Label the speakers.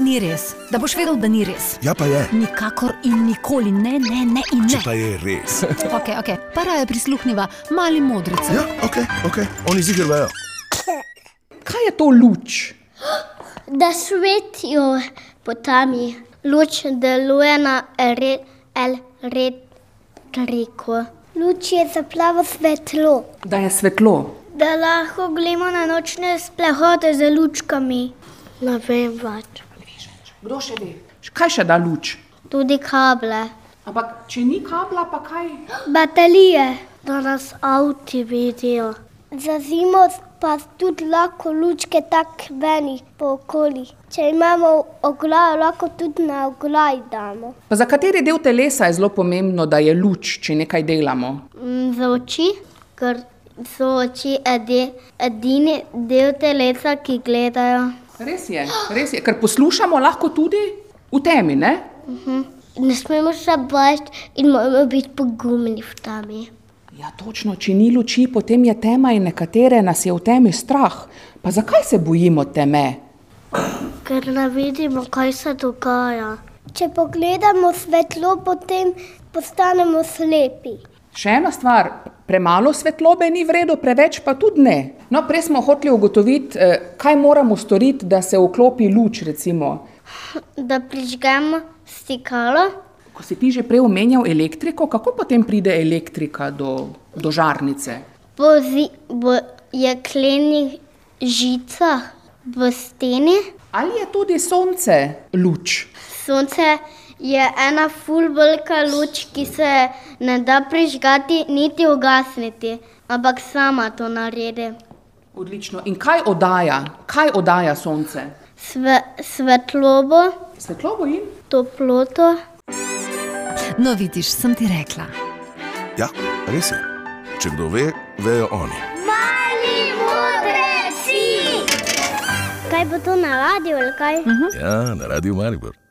Speaker 1: ni res, da boš vedel, da ni res.
Speaker 2: Ja, pa je.
Speaker 1: Nikakor in nikoli ne, ne, ne in
Speaker 2: Če
Speaker 1: ne.
Speaker 2: pa je res.
Speaker 1: Okay, okay. Para je prisluhnila mali modrici.
Speaker 2: Ja, ok, ok, oni zigrajo.
Speaker 3: Kaj je to luč?
Speaker 4: da svetijo po temi. Luč deluje na re, el retriku. Luč je za plavo svetlo,
Speaker 3: Da je svetlo.
Speaker 4: da lahko gremo na nočne splehode z lučkami. Ne vem več.
Speaker 3: Kdo še ve? Kaj še da luč?
Speaker 4: Tudi kable,
Speaker 3: Ampak če ni kabla, pa kaj?
Speaker 4: baterije, da nas avti vidijo. Za zimo pa tudi lahko lučke tako veni po okolju. Če imamo oglaj, lahko tudi na oglaj damo.
Speaker 3: Pa za kateri del telesa je zelo pomembno, da je luč, če nekaj delamo?
Speaker 4: Mm, Za oči, ker so oči edi, edini del telesa, ki gledajo.
Speaker 3: Res je, res je, ker poslušamo lahko tudi v temi, ne?
Speaker 4: Ne smemo se bati in moramo biti pogumni v temi.
Speaker 3: Ja, točno, če ni luči, potem je tema in nekatere nas je v temi strah. Pa zakaj se bojimo teme?
Speaker 4: Ker ne vidimo, kaj se dogaja. Če pogledamo svetlo, potem postanemo slepi.
Speaker 3: Še ena stvar, premalo svetlobe ni v redu, preveč pa tudi ne. No, prej smo hoteli ugotoviti, eh, kaj moramo storiti, da se vklopi luč, recimo.
Speaker 4: Da prižgemo stikalo,
Speaker 3: Ko si ti že prej omenjal elektriko, kako potem pride elektrika do, do žarnice?
Speaker 4: po zi- v jeklenih žicah, v steni.
Speaker 3: Ali je tudi sonce luč?
Speaker 4: Sonce je ena fulbelka luč, ki se ne da prižgati niti ugasniti, ampak sama to naredi.
Speaker 3: Odlično. In kaj oddaja? Kaj oddaja sonce?
Speaker 4: Sve, svetlobo,
Speaker 3: Svetlobo in
Speaker 4: toploto.
Speaker 1: No, vidiš, sem ti rekla.
Speaker 2: Ja, res je. Če kdo ve, vejo oni.
Speaker 4: Mali modreci! Kaj bo to na radiju ali kaj?
Speaker 2: Ja, na radiju Maribor.